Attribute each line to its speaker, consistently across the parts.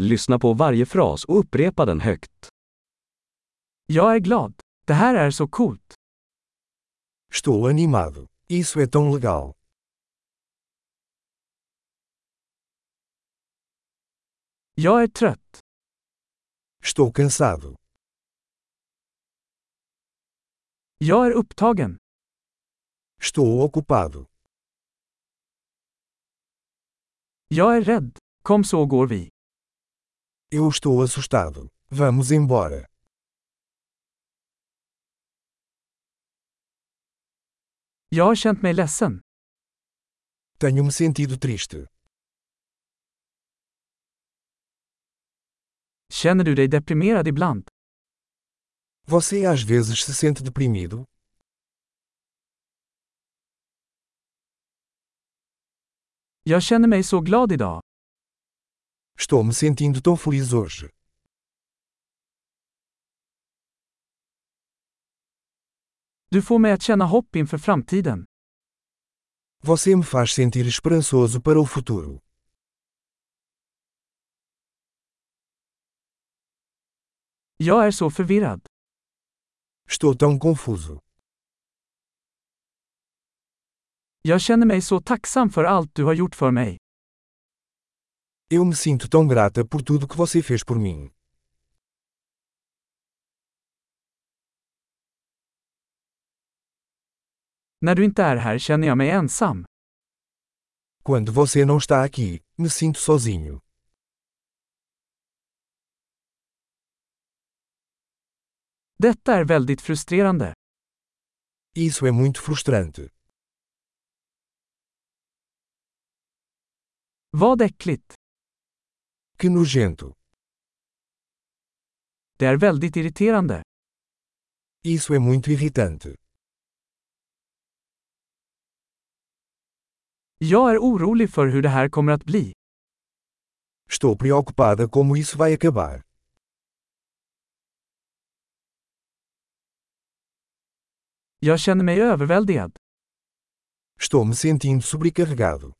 Speaker 1: Lyssna på varje fras och upprepa den högt.
Speaker 2: Jag är glad. Det här är så coolt.
Speaker 3: Estou animado. Isso é tão legal.
Speaker 2: Jag är trött.
Speaker 3: Estou cansado.
Speaker 2: Jag är upptagen.
Speaker 3: Estou ocupado.
Speaker 2: Jag är rädd. Kom så går vi.
Speaker 3: Eu estou assustado. Vamos embora.
Speaker 2: Jag har känt mig ledsen.
Speaker 3: Tenho me sentido triste.
Speaker 2: Känner du dig deprimerad ibland?
Speaker 3: Você às vezes se sente deprimido?
Speaker 2: Jag känner mig så glad idag.
Speaker 3: Estou me sentindo tão feliz hoje.
Speaker 2: Du får mig att känna hopp inför framtiden.
Speaker 3: Você me faz sentir esperançoso para o futuro.
Speaker 2: Jag är så förvirrad.
Speaker 3: Estou tão confuso.
Speaker 2: Jag känner mig så tacksam för allt du har gjort för mig.
Speaker 3: Eu me sinto tão grata por tudo que você fez por mim.
Speaker 2: När du inte är här känner jag mig ensam.
Speaker 3: Quando você não está aqui, me sinto sozinho.
Speaker 2: Detta är väldigt frustrerande.
Speaker 3: Isso é muito frustrante.
Speaker 2: Vad äckligt.
Speaker 3: Que nojento.
Speaker 2: Det är väldigt irriterande.
Speaker 3: Isso é muito irritante.
Speaker 2: Jag är orolig för hur det här kommer att bli.
Speaker 3: Estou preocupada como isso vai acabar.
Speaker 2: Jag känner mig överväldigad.
Speaker 3: Estou me sentindo sobrecarregado.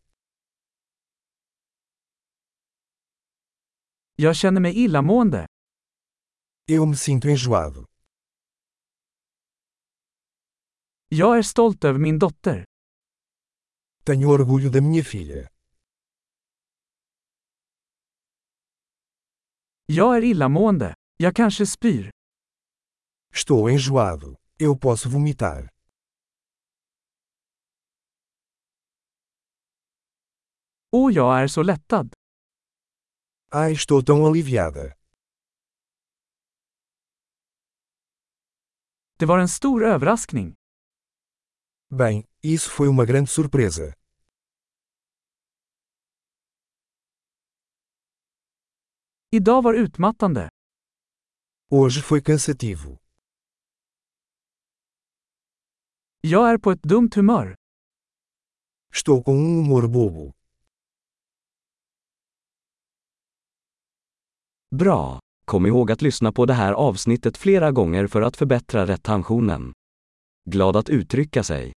Speaker 2: Jag känner mig illamående.
Speaker 3: Eu me sinto enjoado.
Speaker 2: Jag är stolt över min dotter.
Speaker 3: Tenho orgulho da minha filha.
Speaker 2: Jag är illamående. Jag kanske spyr.
Speaker 3: Estou enjoado. Eu posso vomitar.
Speaker 2: Och jag är så lättad.
Speaker 3: Ai, Ah, estou tão aliviada.
Speaker 2: Det var en stor överraskning.
Speaker 3: Bem, isso foi uma grande surpresa.
Speaker 2: Idag var utmattande.
Speaker 3: Hoje foi cansativo.
Speaker 2: Jag är på ett dumt humör.
Speaker 3: Estou com um humor bobo.
Speaker 1: Bra! Kom ihåg att lyssna på det här avsnittet flera gånger för att förbättra retentionen. Glad att uttrycka sig!